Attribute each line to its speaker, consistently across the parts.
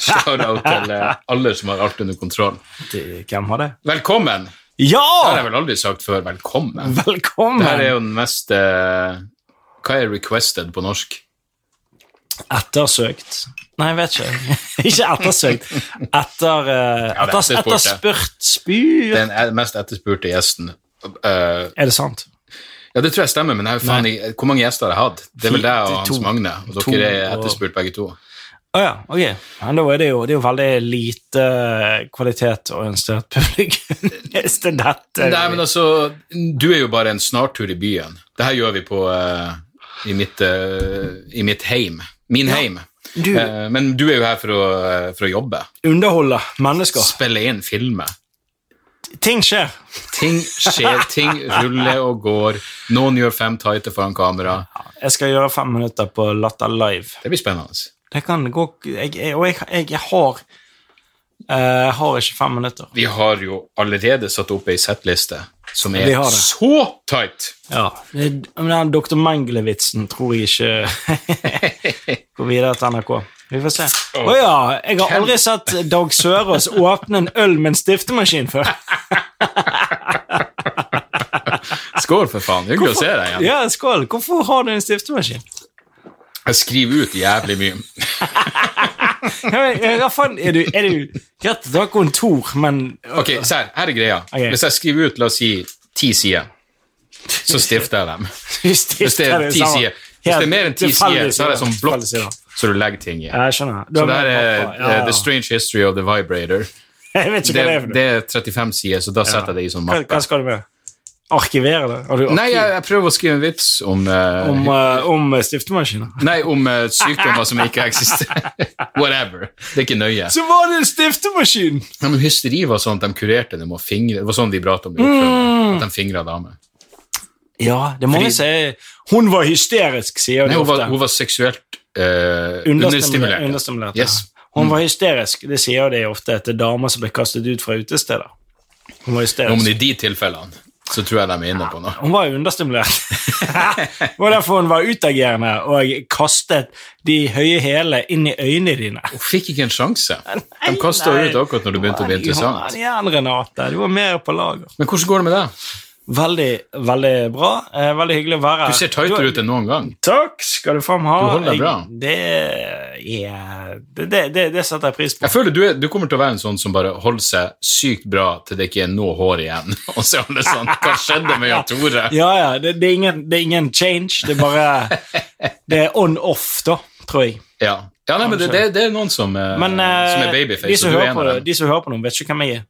Speaker 1: shout-out til eh, alle som har alt under kontroll.
Speaker 2: Det- Hvem har det?
Speaker 1: Velkommen! Det har
Speaker 2: Ja!
Speaker 1: jeg vel aldri sagt før. Velkommen.
Speaker 2: Velkommen!
Speaker 1: Det her er jo den mest eh, Hva er 'requested' på norsk?
Speaker 2: Ettersøkt. Nei, jeg vet ikke. ikke ettersøkt. Etter, eh,
Speaker 1: Ja, det er
Speaker 2: etter,
Speaker 1: etterspurt, det.
Speaker 2: etterspurt. Spyr.
Speaker 1: Den e- mest etterspurte gjesten. Eh,
Speaker 2: Er det sant?
Speaker 1: ja, det tror jeg stemmer, men jeg, faen, jeg, hvor mange gjester har jeg hatt? Det er vel deg og
Speaker 2: To.
Speaker 1: Hans Magne, og
Speaker 2: To
Speaker 1: dere er
Speaker 2: og-
Speaker 1: etterspurt begge to.
Speaker 2: Å ja, ok. Men da er det, jo, det er jo veldig lite eh, kvalitetsorientert publikum. Hvis det er dette
Speaker 1: Nei, men altså, du er jo bare en snartur i byen. Det her gjør vi på eh, i, mitt, eh, i mitt heim. Min heim.
Speaker 2: Du-
Speaker 1: Eh, men du er jo her for å, eh, for å jobbe.
Speaker 2: Underholde mennesker.
Speaker 1: Spille inn filmer.
Speaker 2: Ting skjer.
Speaker 1: Ting skjer, ting ruller og går. Noen gjør fem tighter foran kamera.
Speaker 2: Jeg skal gjøre fem minutter på Latter Live.
Speaker 1: Det blir spennende.
Speaker 2: Det kan gå jeg, jeg, Og jeg, jeg, jeg har eh, har ikke fem minutter.
Speaker 1: Vi har jo allerede satt opp ei settliste som
Speaker 2: Vi
Speaker 1: er
Speaker 2: har det.
Speaker 1: så tight!
Speaker 2: Ja. det- Men den Dr. Mengele-vitsen tror jeg ikke går videre til NRK. Vi får se. Å ja, jeg har aldri sett Dag Sørås åpne en øl med en stiftemaskin før.
Speaker 1: Skål, for faen. Hyggelig å se deg igjen.
Speaker 2: Ja, skål. Hvorfor har du en stiftemaskin?
Speaker 1: Jeg skriver ut jævlig mye.
Speaker 2: Ja, men, ja, Hva faen er du, er du Greit, du har kontor, men
Speaker 1: Ok, se her. Her er greia.
Speaker 2: Ok.
Speaker 1: Hvis jeg skriver ut, la oss si, ti sider, så stifter jeg dem.
Speaker 2: du
Speaker 1: Hvis det
Speaker 2: stifter
Speaker 1: er ti
Speaker 2: sammen.
Speaker 1: sider, hvis det er mer enn ti
Speaker 2: Helt
Speaker 1: sider, så har jeg
Speaker 2: tilfeldig
Speaker 1: sånn
Speaker 2: sider.
Speaker 1: blokk
Speaker 2: Tilfeldig sider.
Speaker 1: så du legger ting i.
Speaker 2: Ja, jeg skjønner. Du
Speaker 1: Så
Speaker 2: har
Speaker 1: det her
Speaker 2: mer
Speaker 1: er
Speaker 2: pappa. Ja, ja.
Speaker 1: eh, The Strange History of the Vibrator.
Speaker 2: Jeg vet ikke
Speaker 1: Det,
Speaker 2: hva det er for noe.
Speaker 1: det er 35 sider, så da setter jeg det i sånn
Speaker 2: Hva,
Speaker 1: mappe.
Speaker 2: hva skal du med? Arkivere det? Har du arkiv
Speaker 1: Nei, jeg, jeg prøver å skrive en vits om, eh,
Speaker 2: om, eh, om stiftemaskiner?
Speaker 1: Nei, om eh, sykdommer som ikke eksisterer. Whatever. Det er ikke nøye.
Speaker 2: Så var det en stiftemaskin!
Speaker 1: Ja, men hysteri var sånn at de kurerte dem og fingre. Det var sånn de pratet om i
Speaker 2: Mm.
Speaker 1: opprøret. At de fingra damer.
Speaker 2: Ja, det er mange som sier Hun var hysterisk, sier
Speaker 1: Nei,
Speaker 2: de
Speaker 1: hun var,
Speaker 2: ofte.
Speaker 1: hun var seksuelt eh,
Speaker 2: Understimulert.
Speaker 1: understimulert.
Speaker 2: understimulert ja.
Speaker 1: Yes. Mm.
Speaker 2: Hun var hysterisk. Det sier de ofte til damer som ble kastet ut fra utesteder. Hun var
Speaker 1: Ja, men
Speaker 2: hysterisk.
Speaker 1: i de tilfellene så tror jeg de er inne på noe.
Speaker 2: Hun var jo understimulert. det var derfor hun var utagerende og kastet de høye hælene inn i øynene dine.
Speaker 1: Hun fikk ikke en sjanse. De kasta
Speaker 2: Nei,
Speaker 1: ut akkurat når det begynte å bli interessant.
Speaker 2: Kom igjen, Renate. Du var mer på lager.
Speaker 1: Men hvordan går det med deg?
Speaker 2: Veldig, veldig bra. Eh, Veldig hyggelig å være her.
Speaker 1: Du ser tightere ut enn noen gang.
Speaker 2: Takk skal du faen ha.
Speaker 1: Du holder deg bra.
Speaker 2: Jeg- Det, er- det, det, det, det setter jeg pris på.
Speaker 1: Jeg føler du, er, du kommer til å være en sånn som bare holder seg sykt bra til det ikke er noe hår igjen. Og så er alle sånn Hva skjedde med Jan Tore?
Speaker 2: Ja, ja. Det, det, er ingen, det er ingen change. Det er bare Det er on-off, da, tror jeg.
Speaker 1: Ja, ja nei, men det, det, det er noen som, eh,
Speaker 2: Men eh,
Speaker 1: som er babyface,
Speaker 2: de, som
Speaker 1: og du er
Speaker 2: hører
Speaker 1: en
Speaker 2: på,
Speaker 1: av
Speaker 2: det-
Speaker 1: dem.
Speaker 2: de som hører på noen, vet ikke hvem jeg er.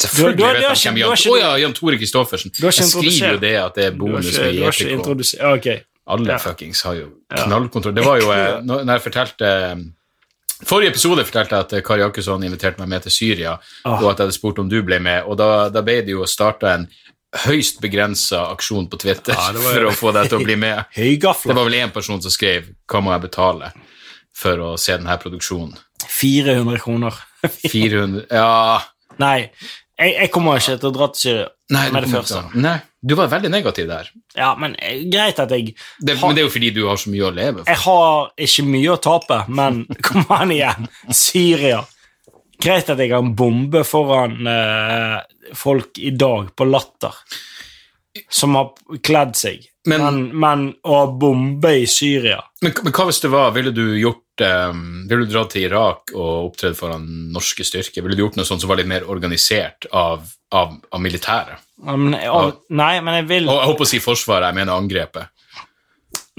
Speaker 2: du
Speaker 1: Selvfølgelig
Speaker 2: har-
Speaker 1: vet
Speaker 2: du har
Speaker 1: de
Speaker 2: ikke-
Speaker 1: hvem
Speaker 2: du
Speaker 1: Jan
Speaker 2: har ikke-
Speaker 1: Tore Å ja, Jan Tore Kristoffersen.
Speaker 2: har ikke
Speaker 1: Jeg skriver
Speaker 2: introdusert-
Speaker 1: jo det at det er
Speaker 2: Du har
Speaker 1: bonus E
Speaker 2: ikke,
Speaker 1: i
Speaker 2: du har ikke
Speaker 1: EPK.
Speaker 2: introdusert Ok.
Speaker 1: Alle
Speaker 2: Ja.
Speaker 1: fuckings har jo knallkontroll. Det var jo eh, når når jeg fortalte eh, Forrige episode fortalte jeg at eh, Kari Jakkesson inviterte meg med til Syria,
Speaker 2: Ah.
Speaker 1: og at jeg hadde spurt om du ble med, og da, da ble det jo starta en høyst begrensa aksjon på Twitter for å få deg til å bli med. Det
Speaker 2: Høygafler.
Speaker 1: var vel én person som skrev 'Hva må jeg betale for å se denne produksjonen?'
Speaker 2: 400 kroner.
Speaker 1: 400 Ja
Speaker 2: Nei, jeg, jeg kommer ikke til å dra til Syria
Speaker 1: Nei, du
Speaker 2: med det
Speaker 1: kommer
Speaker 2: første.
Speaker 1: ikke til å- Nei, du var veldig negativ der.
Speaker 2: Ja, men eh, greit at jeg
Speaker 1: Det, men det er jo fordi du har så mye å leve for.
Speaker 2: Jeg har ikke mye å tape, men kom an igjen. Syria. Greit at jeg har en bombe foran eh, folk i dag på Latter som har kledd seg, men,
Speaker 1: Men-
Speaker 2: men, å ha bombe i Syria
Speaker 1: Men, men hva hvis det var Ville du gjort eh, Ville du dratt til Irak og opptredd foran norske styrker? Ville du gjort noe sånt som var litt mer organisert av, av, av militæret?
Speaker 2: Ja, men, jeg- å, Nei, men jeg vil
Speaker 1: Og jeg håper å si Forsvaret, jeg mener angrepet.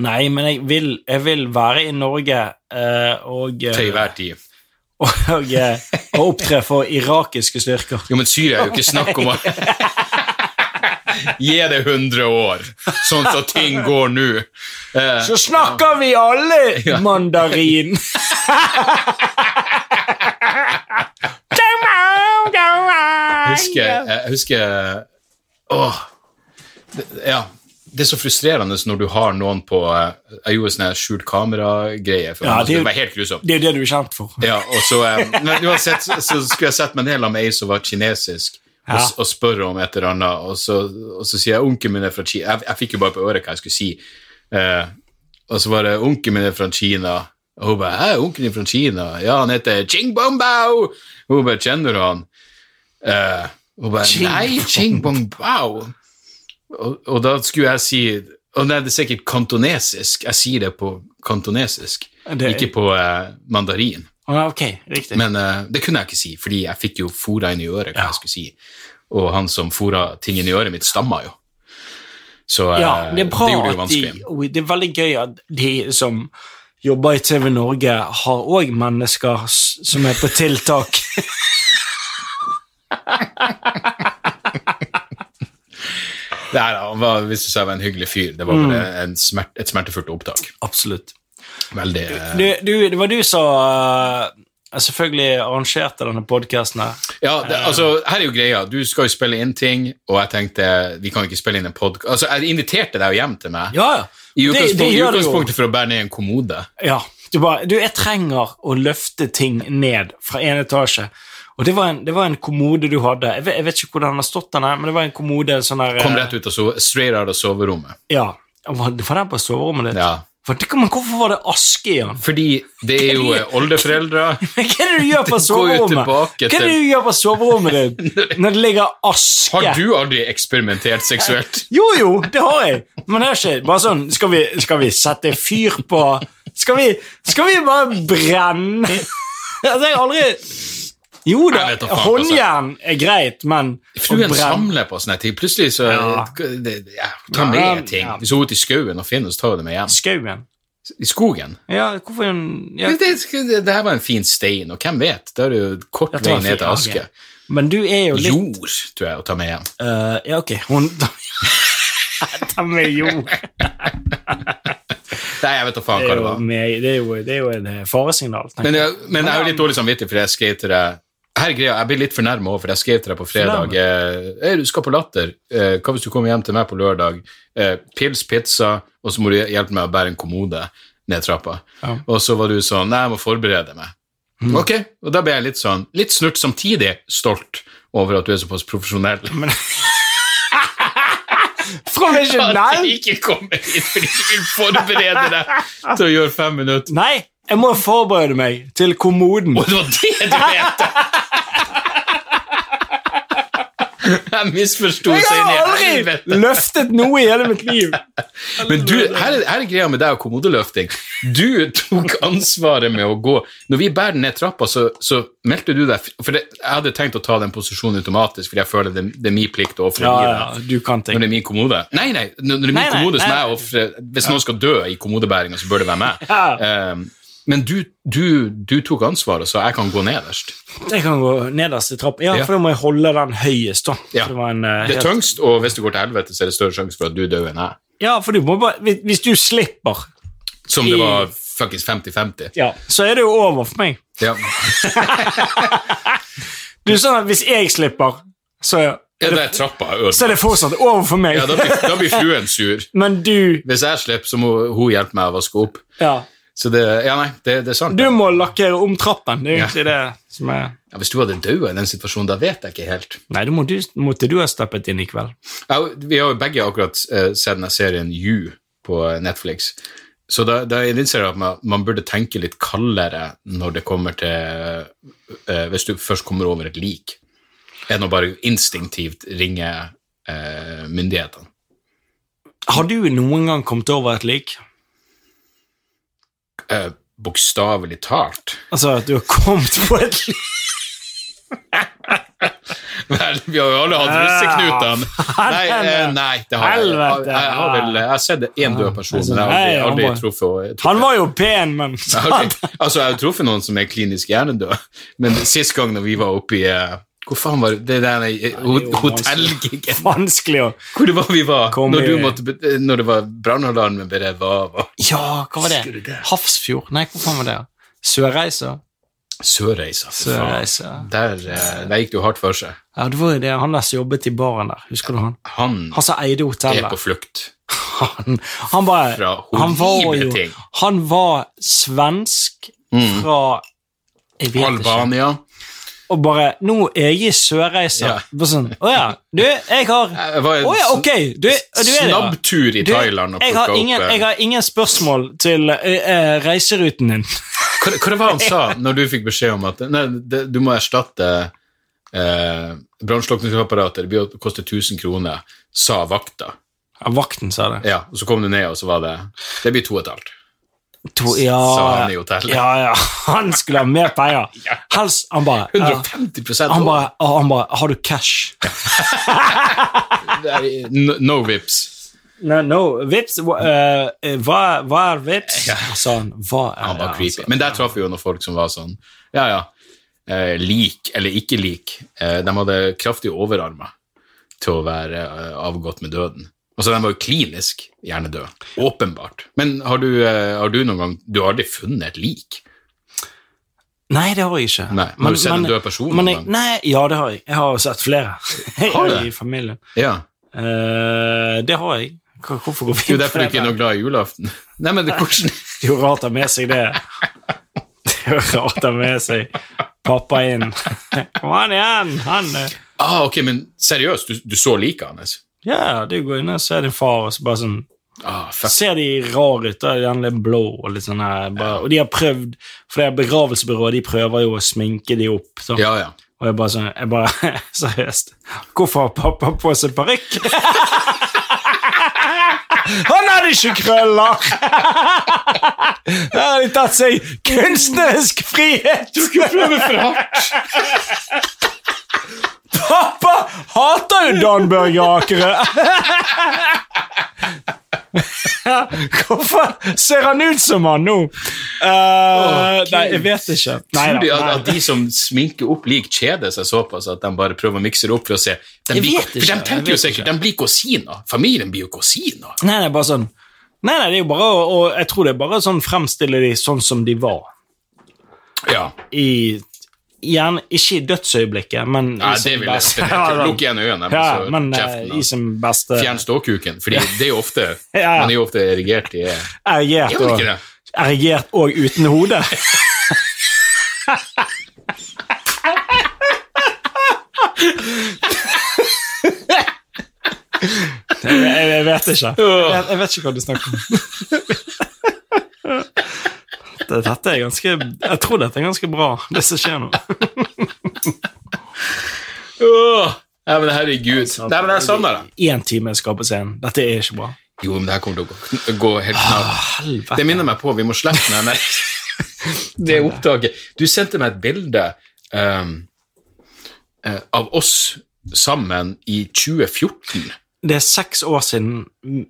Speaker 2: Nei, men jeg vil, jeg vil være i Norge eh, og, eh,
Speaker 1: Til enhver tid.
Speaker 2: og, eh, og opptre for irakiske styrker.
Speaker 1: Jo, men Syria er jo ikke snakk om å Gi det 100 år, sånn som ting går nå. Eh,
Speaker 2: Så snakker vi alle mandarin.
Speaker 1: husker, jeg husker Åh! Det, ja. Det er så frustrerende når du har noen på eh, Jeg gjorde sånn her skjult kamera-greie. for
Speaker 2: Ja,
Speaker 1: meg, så
Speaker 2: det er jo-
Speaker 1: det var helt grusomt.
Speaker 2: Det er jo det du er kjent for.
Speaker 1: Ja, og så, eh, men uansett så, så skulle jeg sett meg ned med ei som var kinesisk, og, s- og spørre om et eller annet, og så, og så sier jeg onkelen min er fra Kina. Jeg, jeg fikk jo bare på øret hva jeg skulle si. Eh, og så var det onkelen min er fra Kina, Og hun bare 'Hæ, onkelen din fra Kina?' 'Ja, han heter Ching Bong Bao.' Og Hun bare 'Kjenner du han?' Eh, hun bare
Speaker 2: Ching
Speaker 1: 'Nei, Ching Bong Bao'. Og, og da skulle jeg si Å nei, det er sikkert kantonesisk. Jeg sier det på kantonesisk,
Speaker 2: Det-
Speaker 1: ikke på eh, mandarin.
Speaker 2: Å, ja, ok, riktig.
Speaker 1: Men eh, det kunne jeg ikke si, fordi jeg fikk jo fora inn i øret hva jeg skulle si. Og han som fora ting inn i øret mitt, stamma jo. Så eh,
Speaker 2: ja, det er bra
Speaker 1: gjorde det jo
Speaker 2: at de
Speaker 1: vanskelig.
Speaker 2: og Det er veldig gøy at de som jobber i TV Norge, har òg mennesker s- som er på tiltak.
Speaker 1: Det her, han var, hvis du sa jeg var en hyggelig fyr, det var
Speaker 2: Mm.
Speaker 1: bare en smert, et smertefullt opptak.
Speaker 2: Absolutt.
Speaker 1: Veldig eh,
Speaker 2: Du, du, det var du som eh, selvfølgelig arrangerte denne podkasten her.
Speaker 1: Ja, det, altså, her er jo greia. Du skal jo spille inn ting, og jeg tenkte vi kan ikke spille inn en podkast Altså, jeg inviterte deg jo hjem til meg.
Speaker 2: Ja, ja.
Speaker 1: I
Speaker 2: Det- det
Speaker 1: utgangspunktet, i
Speaker 2: gjør det jo.
Speaker 1: utgangspunktet for å bære ned en kommode.
Speaker 2: Ja. Du bare Du, jeg trenger å løfte ting ned fra en etasje. Og det var en, det var en kommode du hadde. Jeg vet, jeg vet ikke hvordan den har stått, den her, men det var en kommode sånn der eh,
Speaker 1: Kom rett ut av so straight out av soverommet.
Speaker 2: Ja. Var, var den på soverommet ditt?
Speaker 1: Ja.
Speaker 2: For, det- men hvorfor var det aske i den?
Speaker 1: Fordi det er jo eh, oldeforeldre
Speaker 2: Men hva er det du gjør
Speaker 1: går
Speaker 2: på
Speaker 1: jo
Speaker 2: soverommet?
Speaker 1: tilbake
Speaker 2: Hva er det
Speaker 1: til-
Speaker 2: du gjør på soverommet ditt når det ligger aske?
Speaker 1: Har du aldri eksperimentert seksuelt?
Speaker 2: Jo, jo, det har jeg. Men det er ikke bare sånn Skal vi, skal vi sette fyr på Skal vi, skal vi bare brenne Altså, jeg har aldri Jo da,
Speaker 1: Jeg vet da faen, altså.
Speaker 2: håndjern er greit, men å
Speaker 1: Fruen
Speaker 2: brenne
Speaker 1: samler på sånne ting. Plutselig så
Speaker 2: Ja.
Speaker 1: det, ja, tar med ting.
Speaker 2: Ja.
Speaker 1: Hvis hun er ute i skauen og finner, så tar hun det med hjem.
Speaker 2: Skauen?
Speaker 1: I skogen.
Speaker 2: Ja, hvorfor er hun ja.
Speaker 1: Men Det, det, det her var en fin stein, og hvem vet? Da er det jo kort
Speaker 2: Jeg
Speaker 1: vei
Speaker 2: tar
Speaker 1: ned til
Speaker 2: fyr,
Speaker 1: aske.
Speaker 2: ok. Men du er jo litt
Speaker 1: Jord, tror jeg, å ta med hjem.
Speaker 2: Eh, Ja, ok, hun Ta med jord.
Speaker 1: Nei, jeg vet da faen
Speaker 2: Det
Speaker 1: hva
Speaker 2: er
Speaker 1: det
Speaker 2: jo,
Speaker 1: var.
Speaker 2: meg- det er jo, det er jo en eh, faresignal. tenker
Speaker 1: Men jeg, men jeg har jo litt dårlig samvittighet, for jeg skrev til deg her er greia, Jeg blir litt fornærma òg, for jeg skrev til deg på fredag eh, «Ei, Du skal på Latter. Eh, hva hvis du kommer hjem til meg på lørdag? Eh, pils, pizza, og så må du hjelpe meg å bære en kommode ned trappa.
Speaker 2: Ja.
Speaker 1: Og så var du sånn Nei, jeg må forberede meg. Ok, og da ble jeg litt sånn Litt snurt, samtidig stolt over at du er såpass profesjonell. At
Speaker 2: Profesjonell?
Speaker 1: du ikke kommer hit fordi du vil forberede deg til å gjøre fem minutter.
Speaker 2: Nei, jeg må forberede meg til kommoden.
Speaker 1: Og det var det du mente! Jeg misforsto
Speaker 2: Jeg
Speaker 1: seg inn i
Speaker 2: har
Speaker 1: helvete.
Speaker 2: aldri løftet noe i hele mitt liv.
Speaker 1: Men du, her er, her er greia med deg og kommodeløfting. Du tok ansvaret med å gå Når vi bærer den ned trappa, så, så meldte du deg For det, jeg hadde tenkt å ta den posisjonen automatisk, fordi jeg føler det, det er min plikt å ofre
Speaker 2: Ja,
Speaker 1: livet.
Speaker 2: ja, du kan
Speaker 1: Når
Speaker 2: ting.
Speaker 1: det er min kommode? Nei, nei, når det er min
Speaker 2: Nei, nei,
Speaker 1: kommode som
Speaker 2: nei.
Speaker 1: jeg offrer Hvis noen skal dø i kommodebæringa, så bør det være meg.
Speaker 2: Ja.
Speaker 1: Um, men du, du, du tok ansvaret, så jeg kan gå nederst.
Speaker 2: Jeg kan gå nederst i trappa. Ja,
Speaker 1: Ja.
Speaker 2: for da må jeg holde den høyest, da.
Speaker 1: Ja.
Speaker 2: For det var en, eh,
Speaker 1: Det er
Speaker 2: helt-
Speaker 1: tøngst, og hvis det går til helvete, så er det større sjanse for at du dør enn jeg.
Speaker 2: Ja, for du må bare hvis- Hvis du slipper,
Speaker 1: Som det var fuckings 50-50.
Speaker 2: ja, så er det jo over for meg.
Speaker 1: Ja.
Speaker 2: Du er sånn at hvis jeg slipper, så,
Speaker 1: Ja, det er trappa jeg
Speaker 2: så
Speaker 1: ødelegger.
Speaker 2: er det fortsatt over for meg.
Speaker 1: Ja, da blir, da blir fruen sur.
Speaker 2: Men du
Speaker 1: Hvis jeg slipper, så må hun hjelpe meg å vaske opp.
Speaker 2: Ja.
Speaker 1: Så det Ja, nei, det, det er sant.
Speaker 2: Du må lakkere om trappen. Det er jo egentlig det som er
Speaker 1: Ja, hvis du hadde dødd i den situasjonen, da vet jeg ikke helt.
Speaker 2: Nei, det må du, måtte du ha steppet inn i kveld.
Speaker 1: Ja, vi har jo begge akkurat eh, sett denne serien You på Netflix. Så da, da innser jeg at man, man burde tenke litt kaldere når det kommer til eh, Hvis du først kommer over et lik, enn å bare instinktivt ringe eh, myndighetene.
Speaker 2: Har du noen gang kommet over et lik?
Speaker 1: Eh, Bokstavelig talt.
Speaker 2: Altså at du har kommet på et lik?
Speaker 1: Vel, vi har jo alle hatt russeknutene. Nei, eh, nei, det har jeg. Jeg,
Speaker 2: Helvete.
Speaker 1: jeg har vel jeg har sett én død person, men jeg har aldri,
Speaker 2: Nei, han
Speaker 1: aldri truffet
Speaker 2: Han var jo pen, men
Speaker 1: Ja, ok. Altså, jeg har truffet noen som er klinisk hjernedød, men sist gang når vi var oppe i eh, Hvor faen var det? det der eh, ho-
Speaker 2: det er jo
Speaker 1: hotellgiggen?
Speaker 2: vanskelig å
Speaker 1: Hvor det var vi var?
Speaker 2: Kom
Speaker 1: Når, du
Speaker 2: i-
Speaker 1: måtte, be- eh, når det var brannalarmen ble revet av? og-
Speaker 2: Ja, hva var
Speaker 1: Husker du
Speaker 2: det?
Speaker 1: det?
Speaker 2: Hafrsfjord? Nei, hvor faen var det? Sørreisa?
Speaker 1: Sørreisa, for faen.
Speaker 2: Sørreisa.
Speaker 1: Der, eh, der gikk det jo hardt for seg.
Speaker 2: Ja, det var jo det. Han der som jobbet i baren der, husker du han?
Speaker 1: Han
Speaker 2: Han som eide
Speaker 1: er på
Speaker 2: hotellet.
Speaker 1: flukt.
Speaker 2: Han, han bare
Speaker 1: Fra
Speaker 2: han var,
Speaker 1: horrible
Speaker 2: jo,
Speaker 1: ting. Mm.
Speaker 2: han var svensk fra Jeg vet ikke.
Speaker 1: Albania.
Speaker 2: og bare 'Nå er jeg i Sørreisa.'
Speaker 1: Ja.
Speaker 2: Bare sånn 'Å ja, du, jeg har
Speaker 1: Det var en
Speaker 2: Å ja, ok! Du, du er det, ja.»
Speaker 1: snabbtur i
Speaker 2: Du,
Speaker 1: Thailand og
Speaker 2: jeg har,
Speaker 1: plukka opp
Speaker 2: ingen,
Speaker 1: eh,
Speaker 2: jeg har ingen spørsmål til eh, eh, reiseruten din.
Speaker 1: Hva, hva det var han sa når du fikk beskjed om at nei, det, du må erstatte eh, brannslukningsapparatet, det blir å koste 1000 kroner, sa vakta.
Speaker 2: Ja, vakten sa det.
Speaker 1: Ja, og så kom du ned, og så var det Det blir to og et halvt.
Speaker 2: To, ja,
Speaker 1: Sa han i hotellet.
Speaker 2: Ah, Ja, ja. Han skulle ha mer penger. Helst Han bare ja.
Speaker 1: 150
Speaker 2: Han
Speaker 1: over.
Speaker 2: bare, og han bare 'Har du cash?'
Speaker 1: Det er- no, no vips.
Speaker 2: No, no, vips eh, eh, hva, hva er vips? Sa Altså, han. Hva er
Speaker 1: Han var
Speaker 2: ja,
Speaker 1: creepy.
Speaker 2: altså.
Speaker 1: Men der traff vi jo noen folk som var sånn Ja, ja. Eh, lik eller ikke lik. Eh, de hadde kraftige overarmer til å være eh, avgått med døden. Og så De var jo klinisk hjernedøde. Åpenbart. Men har du, eh, har du noen gang Du har aldri funnet et lik?
Speaker 2: Nei, det har jeg ikke.
Speaker 1: Nei, men har du sett en død person
Speaker 2: men
Speaker 1: noen
Speaker 2: jeg,
Speaker 1: gang?
Speaker 2: Nei, ja, det har jeg. Jeg har sett flere
Speaker 1: Har du det?
Speaker 2: i familien.
Speaker 1: Ja.
Speaker 2: Eh, det har jeg. Hva- Hvorfor går
Speaker 1: Det er jo
Speaker 2: vi inn på
Speaker 1: derfor du ikke er noe glad i julaften. Nei, men det, hvordan
Speaker 2: Det er jo rart å ha med seg det. Det er jo rart å ha med seg pappa inn. Kom an igjen! Han eh,
Speaker 1: ah, Ok, men seriøst, du, du så liket hans?
Speaker 2: Ja, du går inn og ser din far, og så bare sånn
Speaker 1: Ah, fuck.
Speaker 2: Ser de rar ut, da? Gjerne litt blå og litt sånn her. Bare, og de har prøvd, for det er begravelsesbyrået, de prøver jo å sminke de opp. Så.
Speaker 1: Ja, ja.
Speaker 2: Og jeg bare sånn jeg bare, Seriøst. Hvorfor har pappa på seg parykk? Han hadde ikke krøller! Der har de tatt seg kunstnerisk frihet! Pappa hater jo Dan Børge Akerø! Hvorfor ser han ut som han nå? Eh, nei, jeg vet ikke. Neida,
Speaker 1: Tror de at,
Speaker 2: nei.
Speaker 1: at de som sminker opp lik, kjeder seg såpass at de bare prøver å mikse det opp for å se de
Speaker 2: Jeg
Speaker 1: blir,
Speaker 2: vet ikke,
Speaker 1: For de
Speaker 2: jeg
Speaker 1: tenker jo
Speaker 2: vet
Speaker 1: sikkert de blir kusiner. Familien blir jo kusiner.
Speaker 2: Nei, nei, bare sånn Nei, nei, det er jo bare å- Og jeg tror det er bare sånn fremstille de sånn som de var.
Speaker 1: Ja.
Speaker 2: I Gjerne ikke i dødsøyeblikket, men
Speaker 1: Nei,
Speaker 2: i
Speaker 1: det
Speaker 2: sin
Speaker 1: vil jeg
Speaker 2: beste-
Speaker 1: se.
Speaker 2: Ja, sånn.
Speaker 1: Lukk igjen øynene, men
Speaker 2: Ja,
Speaker 1: så
Speaker 2: men eh,
Speaker 1: kjeften.
Speaker 2: i
Speaker 1: da.
Speaker 2: sin beste
Speaker 1: Fjern ståkuken, for det er jo ofte
Speaker 2: Ja.
Speaker 1: Man er jo ofte erigert i Gjør
Speaker 2: Erigert
Speaker 1: man
Speaker 2: og,
Speaker 1: ikke det?
Speaker 2: erigert og uten hode. jeg, jeg, jeg vet ikke. Jeg vet, jeg vet ikke hva du snakker om. Det- Dette er ganske, jeg tror dette er ganske bra, det som skjer nå.
Speaker 1: Åh, Nei, men herregud. Nei, men jeg savner det. sånn
Speaker 2: Én time skal på scenen. Dette er ikke bra.
Speaker 1: Jo, men det her kommer til å gå, gå helt snart. Det
Speaker 2: Helvete.
Speaker 1: minner meg på, vi må slette den her Det opptaket. Du sendte meg et bilde ehm, eh, av oss sammen i 2014.
Speaker 2: Det er seks år siden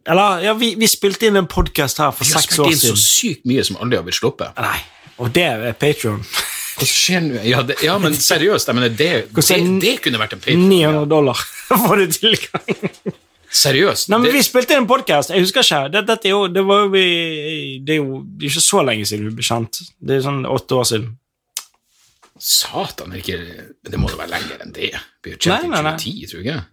Speaker 2: Eller, ja, vi, vi spilte inn en podkast her for
Speaker 1: Vi har
Speaker 2: seks
Speaker 1: spilt
Speaker 2: år
Speaker 1: inn så
Speaker 2: siden.
Speaker 1: sykt mye som aldri har blitt sluppet.
Speaker 2: Nei, og det er Patreon.
Speaker 1: Hva skjer nå? Ja, det, ja, men seriøst, jeg mener, det, det,
Speaker 2: Hvordan-
Speaker 1: det kunne vært en pay.
Speaker 2: 900 dollar får du tilgang.
Speaker 1: Seriøst.
Speaker 2: Nei, men
Speaker 1: det-
Speaker 2: Vi spilte inn en podkast, jeg husker ikke. Det, dette er jo, det, var jo vi, det er jo ikke så lenge siden vi ble kjent. Det er sånn åtte år siden.
Speaker 1: Satan, er det ikke, det må da være lenger enn det. Vi ble kjent
Speaker 2: Nei, nei, nei.
Speaker 1: i 2010, tror jeg.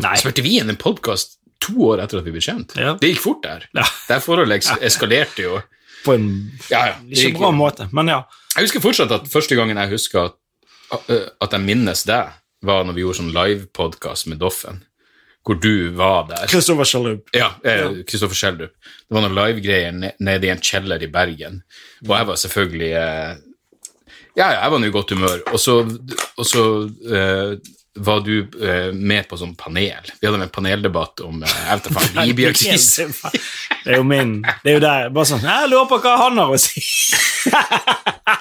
Speaker 2: Nei.
Speaker 1: Spilte vi inn en podkast to år etter at vi ble kjent?
Speaker 2: Ja.
Speaker 1: Det gikk fort der.
Speaker 2: Ja.
Speaker 1: Det her forholdet eks- eskalerte jo.
Speaker 2: På en
Speaker 1: Ja, ja. det
Speaker 2: ikke
Speaker 1: gikk-
Speaker 2: bra måte, men ja.
Speaker 1: Jeg husker fortsatt at første gangen jeg husker at, eh, at jeg minnes deg, var når vi gjorde sånn livepodkast med Doffen, hvor du var der.
Speaker 2: Kristoffer Sjalup.
Speaker 1: Ja, eh, Kristoffer Schjelderup. Det var noen livegreier ne- nede i en kjeller i Bergen, og jeg var selvfølgelig eh, Ja, ja, jeg var nå i godt humør, og så, og så eh, var du eh, med på sånn panel. Vi hadde en paneldebatt om eh, jeg vet da faen, Libya-krisen.
Speaker 2: Det er jo min. Det er jo der. Bare sånn Jeg lurer på hva han har å si.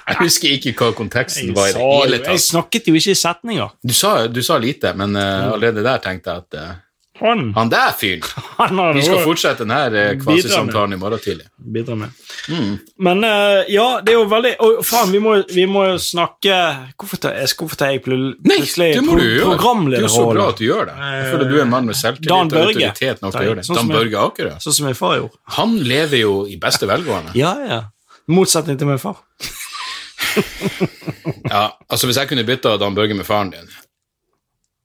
Speaker 1: Jeg husker ikke hva konteksten
Speaker 2: Jeg,
Speaker 1: var i
Speaker 2: sa
Speaker 1: det
Speaker 2: jo-
Speaker 1: hele
Speaker 2: jeg
Speaker 1: tatt.
Speaker 2: snakket jo ikke i setninger.
Speaker 1: Du sa, du sa lite, men eh, allerede der tenkte jeg at eh,
Speaker 2: Han,
Speaker 1: Han der fyren!
Speaker 2: han har
Speaker 1: Vi skal
Speaker 2: noe-
Speaker 1: fortsette denne kvasisamtalen i morgen tidlig.
Speaker 2: bidra med.
Speaker 1: Mm.
Speaker 2: Men eh, ja, det er jo veldig Å, faen, vi må, vi må jo snakke Hvorfor tar jeg, hvorfor tar jeg pl-
Speaker 1: Nei,
Speaker 2: plutselig
Speaker 1: det må du gjøre! Det er jo så bra
Speaker 2: programlederrollen?
Speaker 1: at du gjør det. Jeg føler du er en mann med selvtillit
Speaker 2: Eh, Dan
Speaker 1: og
Speaker 2: Børge.
Speaker 1: autoritet nok til å gjøre det.
Speaker 2: Sånn som
Speaker 1: Dan
Speaker 2: jeg-
Speaker 1: Børge Akerø.
Speaker 2: Sånn som min far gjorde.
Speaker 1: Han lever jo i beste velgående.
Speaker 2: Ja, ja. Motsetning til min far.
Speaker 1: Ja, altså Hvis jeg kunne bytta Dan Børge med faren din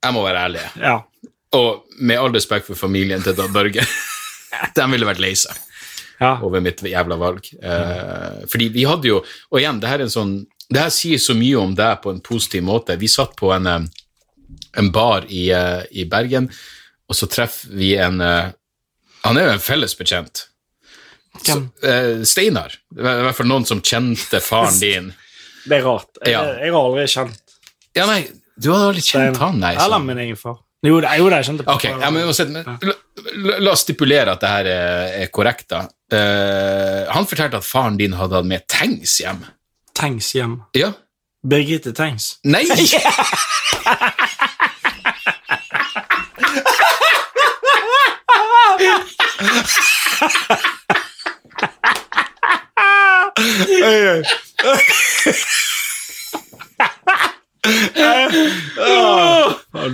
Speaker 1: Jeg må være ærlig.
Speaker 2: Ja.
Speaker 1: Og med all respekt for familien til Dan Børge De ville vært lei seg
Speaker 2: ja.
Speaker 1: over mitt jævla valg. Eh, fordi vi hadde jo Og igjen, det her er en sånn det her sier så mye om deg på en positiv måte. Vi satt på en, eh, en bar i, eh, i Bergen, og så treffer vi en eh, Han er jo en fellesbetjent.
Speaker 2: Hvem?
Speaker 1: Eh, Steinar. I hvert fall noen som kjente faren din.
Speaker 2: Det er rart. Jeg,
Speaker 1: Ja.
Speaker 2: jeg har aldri kjent
Speaker 1: Ja, nei, du hadde aldri kjent han, nei.
Speaker 2: Eller
Speaker 1: sånn.
Speaker 2: min egen far. Jo, det, jo, det jeg kjente på
Speaker 1: Ok, ja, men, uansett, men, la, la- la oss stipulere at det her er, er korrekt, da. Eh, han fortalte at faren din hadde hatt med tanks hjem.
Speaker 2: Tengs hjem.
Speaker 1: Ja.
Speaker 2: Birgitte Tengs.
Speaker 1: Nei!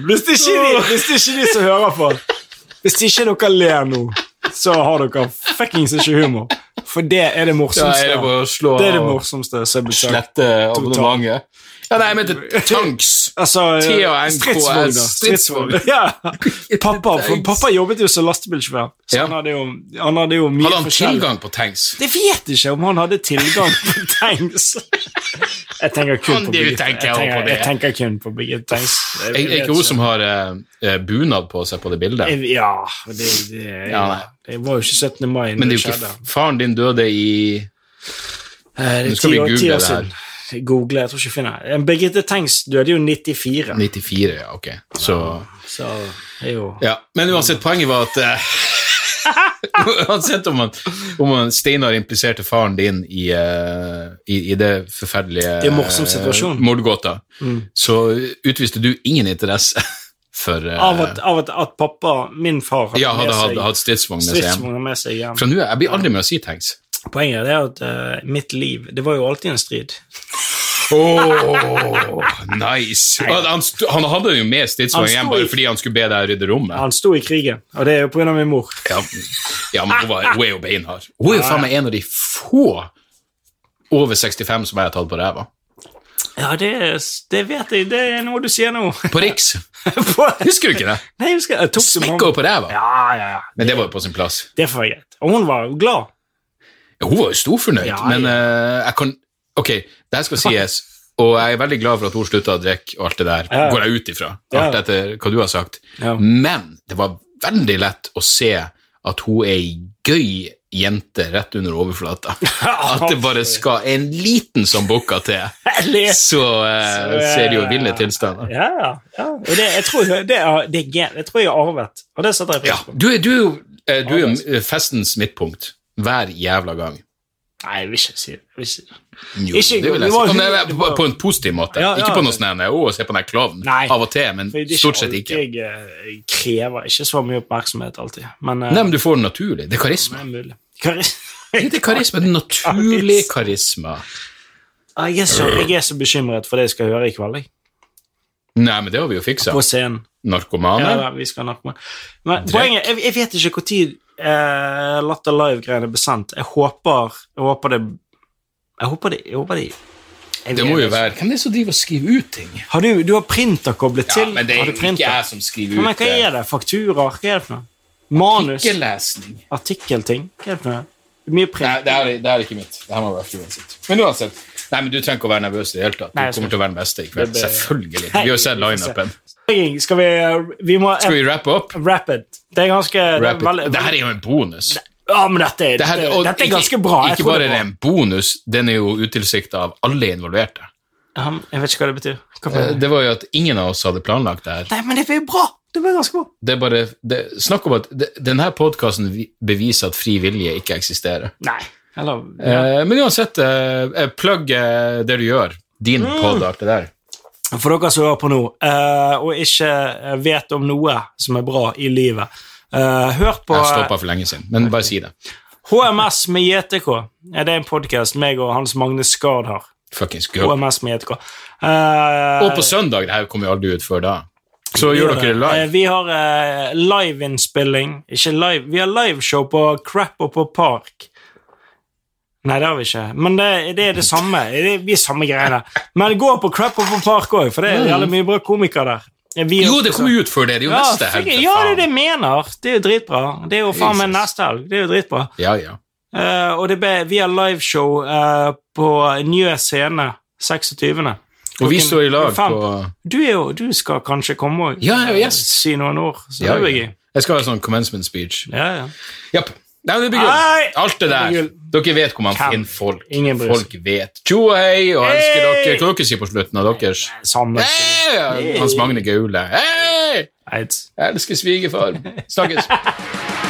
Speaker 2: Hvis det ikke er de, hvis det ikke er de som hører på Hvis det ikke er dere ler nå, så har dere fuckings ikke humor. For det er det
Speaker 1: Da er
Speaker 2: morsomste.
Speaker 1: det bare å slå
Speaker 2: det er det morsomste som er besøkt.
Speaker 1: slette abonnementet. Ja, nei, jeg mente tanks.
Speaker 2: Altså,
Speaker 1: T.A.N.K.S.
Speaker 2: stridsvogn. da. Stridsvogn. Ja. Pappa, for pappa jobbet jo som lastebilsjåfør, så
Speaker 1: Ja.
Speaker 2: han hadde jo, han hadde jo mye
Speaker 1: Hadde han
Speaker 2: forskjell.
Speaker 1: tilgang på tanks?
Speaker 2: Jeg vet ikke om han hadde tilgang på tanks. Jeg tenker kun
Speaker 1: Kan
Speaker 2: på
Speaker 1: du
Speaker 2: Birgitte. Jeg
Speaker 1: tenke over
Speaker 2: tenker,
Speaker 1: det?
Speaker 2: jeg tenker kun på Birgitte Tengs. Jeg-
Speaker 1: Er
Speaker 2: jeg
Speaker 1: er
Speaker 2: vet
Speaker 1: ikke hun som har eh, eh, bunad på seg på det bildet?
Speaker 2: Jeg- Ja, det, det,
Speaker 1: Ja, nei.
Speaker 2: det var jo ikke 17. mai når
Speaker 1: Men det
Speaker 2: det
Speaker 1: er jo
Speaker 2: skjedde.
Speaker 1: ikke Faren din døde i
Speaker 2: Eh,
Speaker 1: Nå
Speaker 2: Det er
Speaker 1: skal
Speaker 2: ti
Speaker 1: vi
Speaker 2: år,
Speaker 1: google
Speaker 2: ti år
Speaker 1: det her.
Speaker 2: siden. Google, jeg tror ikke jeg finner det. Eh, Birgitte Tengs døde jo 94,
Speaker 1: 94, ja, ok. Så
Speaker 2: så det er jo
Speaker 1: Ja, men uansett, poenget var at eh, Uansett om, han, om han Steinar impliserte faren din i, eh, i, i det forferdelige
Speaker 2: Det er en morsom situasjon. Mm.
Speaker 1: eh, mordgåta, så utviste du ingen interesse for eh,
Speaker 2: Av at, av at, at pappa, min far, hadde
Speaker 1: Ja, hadde
Speaker 2: med
Speaker 1: hatt-
Speaker 2: seg
Speaker 1: hatt stridsvogn med seg hjem.
Speaker 2: stridsvogner med seg hjem.
Speaker 1: Fra nå av Jeg blir aldri med å si tanks.
Speaker 2: Poenget er at eh, mitt liv, det var jo alltid en strid.
Speaker 1: Oh, nice! Han, han st- han hadde jo med stridsvogn
Speaker 2: Han
Speaker 1: hjem
Speaker 2: sto i-
Speaker 1: bare fordi han skulle be deg rydde rommet.
Speaker 2: Han sto i krigen, og det er jo på grunn av min mor.
Speaker 1: Ja, ja men hun, var, hun er jo beinhard. Hun er jo faen meg en av de få over 65 som jeg har tatt på ræva.
Speaker 2: Ja, det, er- det vet jeg. Det er noe du sier nå.
Speaker 1: På Riks.
Speaker 2: På-
Speaker 1: Husker du ikke det?
Speaker 2: Nei, jeg husker jeg tok det med
Speaker 1: Smekka henne på ræva.
Speaker 2: Ja, ja, ja.
Speaker 1: Men det var jo på sin plass.
Speaker 2: Det får jeg greit. Og hun var jo glad.
Speaker 1: Ja, Hun var jo storfornøyd,
Speaker 2: Ja, ja.
Speaker 1: men eh, jeg kan Ok, det her skal sies, og jeg er veldig glad for at hun slutta å drikke og alt det der,
Speaker 2: Ja.
Speaker 1: går jeg ut ifra, alt
Speaker 2: Ja.
Speaker 1: etter hva du har sagt.
Speaker 2: Ja.
Speaker 1: Men det var veldig lett å se at hun er ei gøy jente rett under overflata. At det bare skal en liten som bukker til,
Speaker 2: Jeg leser.
Speaker 1: så eh,
Speaker 2: Så, eh,
Speaker 1: ser det jo ville tilstander.
Speaker 2: Ja, ja, ja. Og det, jeg, tror, det er, det er, gen- jeg tror jeg har arvet, og det setter jeg
Speaker 1: Ja,
Speaker 2: pris på.
Speaker 1: du, er- du, er jo- eh, du er jo festens midtpunkt hver jævla gang.
Speaker 2: Nei, jeg vil ikke si det. Jeg vil ikke.
Speaker 1: Jo,
Speaker 2: Ikke-
Speaker 1: det vil jeg
Speaker 2: det var-
Speaker 1: si. Nei, nei, på, på en positiv måte.
Speaker 2: Ja, ja,
Speaker 1: ikke på noe
Speaker 2: det-
Speaker 1: sånn her, å, se på den her klovnen.
Speaker 2: Nei.
Speaker 1: Av og til, men
Speaker 2: For det er ikke
Speaker 1: stort sett
Speaker 2: alltid
Speaker 1: ikke.
Speaker 2: Jeg eh, krever ikke så mye oppmerksomhet alltid, men eh,
Speaker 1: Nei, men du får det naturlig. Det er
Speaker 2: det
Speaker 1: karisma.
Speaker 2: er mulig. Karis-
Speaker 1: Det er karisma, det er naturlig karisma.
Speaker 2: Ah, Jeg er, så, jeg er så bekymret for det jeg skal høre i kveld, jeg.
Speaker 1: Nei, men det har vi jo fiksa.
Speaker 2: på scenen. Ja,
Speaker 1: Narkomane.
Speaker 2: da, vi skal nok med. Men poenget, jeg, jeg vet ikke når eh, Latter Live-greiene ble sendt. Jeg håper, jeg håper det Jeg håper det, jeg håper det jeg
Speaker 1: Det
Speaker 2: vet
Speaker 1: må jo
Speaker 2: ikke.
Speaker 1: være Hvem er det som driver og skriver ut ting?
Speaker 2: Har du, du har printer koblet
Speaker 1: Ja,
Speaker 2: til?
Speaker 1: men det
Speaker 2: har
Speaker 1: er
Speaker 2: du
Speaker 1: jo
Speaker 2: printer?
Speaker 1: ikke jeg som skriver
Speaker 2: Ja, men
Speaker 1: ut eh,
Speaker 2: hva
Speaker 1: det.
Speaker 2: er det? Fakturer? Hva er det for noe? Manus?
Speaker 1: Ikke-lesning.
Speaker 2: Artikkelting? Hva er det for noe? Mye
Speaker 1: Nei,
Speaker 2: print.
Speaker 1: det her, er- det her er ikke mitt. Det her må være Fruen sitt. Men uansett. Nei, men Du trenger ikke å være nervøs i det hele tatt.
Speaker 2: Nei,
Speaker 1: Du
Speaker 2: jeg skal
Speaker 1: kommer til å være den beste i kveld.
Speaker 2: Det blir-
Speaker 1: Selvfølgelig. Vi har jo sett
Speaker 2: Nei, vi får se.
Speaker 1: lineupen.
Speaker 2: Skal vi eh, Vi må
Speaker 1: Skal vi wrappe opp?
Speaker 2: Rapid. Det er ganske det
Speaker 1: Wrap
Speaker 2: er veldig,
Speaker 1: it. Det her er jo en bonus.
Speaker 2: Ja, men dette er,
Speaker 1: Det her- og
Speaker 2: dette er
Speaker 1: ikke-
Speaker 2: ganske bra. Jeg
Speaker 1: Ikke
Speaker 2: tror
Speaker 1: bare er
Speaker 2: det
Speaker 1: det
Speaker 2: er bra.
Speaker 1: en bonus, den er jo utilsikta av alle involverte.
Speaker 2: Ja, men Jeg vet ikke hva det betyr. Hva for-
Speaker 1: Eh, Det var jo at ingen av oss hadde planlagt det her.
Speaker 2: Nei, men det blir bra! Det blir ganske bra.
Speaker 1: Det er bare, det, snakk om at det, denne podkasten beviser at fri vilje ikke eksisterer.
Speaker 2: Nei. Eller ja.
Speaker 1: Eh, men uansett, eh, eh, plugg eh, det du gjør. Din
Speaker 2: Mm.
Speaker 1: podd, alt det der.
Speaker 2: For dere som hører på nå, eh, og ikke eh, vet om noe som er bra i livet, eh, hør på eh,
Speaker 1: Jeg stoppa for lenge siden, men bare si det.
Speaker 2: HMS med JTK. Ja, det er en podkast meg og Hans Magne Skard har.
Speaker 1: Fuckings go.
Speaker 2: HMS med JTK. Eh,
Speaker 1: Og på søndag, det her kommer jo aldri ut før da. Så
Speaker 2: vi
Speaker 1: gjør
Speaker 2: gjør
Speaker 1: dere det
Speaker 2: Eh,
Speaker 1: live.
Speaker 2: Vi har eh, liveinnspilling. Ikke live, vi har liveshow på Crap og på Park. Nei, det har vi ikke, men det, det er det samme. Det er, vi er samme greiene. Men gå på Crap og på Park òg, for det er jævlig mye bra komikere der. Eh, Vi er
Speaker 1: Jo,
Speaker 2: også
Speaker 1: det
Speaker 2: så-
Speaker 1: kommer jo ut før det. Det er jo
Speaker 2: ja,
Speaker 1: neste
Speaker 2: fikk-
Speaker 1: helg.
Speaker 2: Ja,
Speaker 1: for
Speaker 2: det er det
Speaker 1: faen.
Speaker 2: jeg mener. Det er jo dritbra. Det er jo faen meg
Speaker 1: Jesus.
Speaker 2: neste helg. Det er jo dritbra.
Speaker 1: Ja, ja.
Speaker 2: Eh, og det ble, vi har liveshow eh, på Njø scene 26.
Speaker 1: Og vi står i lag
Speaker 2: Fem.
Speaker 1: på
Speaker 2: Du, er jo, du skal kanskje komme og
Speaker 1: Ja, jeg er jo gjest.
Speaker 2: si noen ord, så
Speaker 1: Ja,
Speaker 2: det blir
Speaker 1: ja.
Speaker 2: gøy.
Speaker 1: Jeg skal ha en sånn commencement speech.
Speaker 2: Ja, ja.
Speaker 1: Japp. Nei, men det blir
Speaker 2: Nei!
Speaker 1: gull. Alt det
Speaker 2: Det blir
Speaker 1: der.
Speaker 2: gull.
Speaker 1: Dere vet hvor man
Speaker 2: Hvem?
Speaker 1: finner folk.
Speaker 2: Ingen bryr seg.
Speaker 1: Folk vet. Tjo og hei, og elsker
Speaker 2: Hei!
Speaker 1: dere. Hva dere sier på slutten av deres?
Speaker 2: Samme.
Speaker 1: Hei! Hans Magne Gaule. Hei!
Speaker 2: Eids.
Speaker 1: Jeg elsker svigerfar. Snakkes.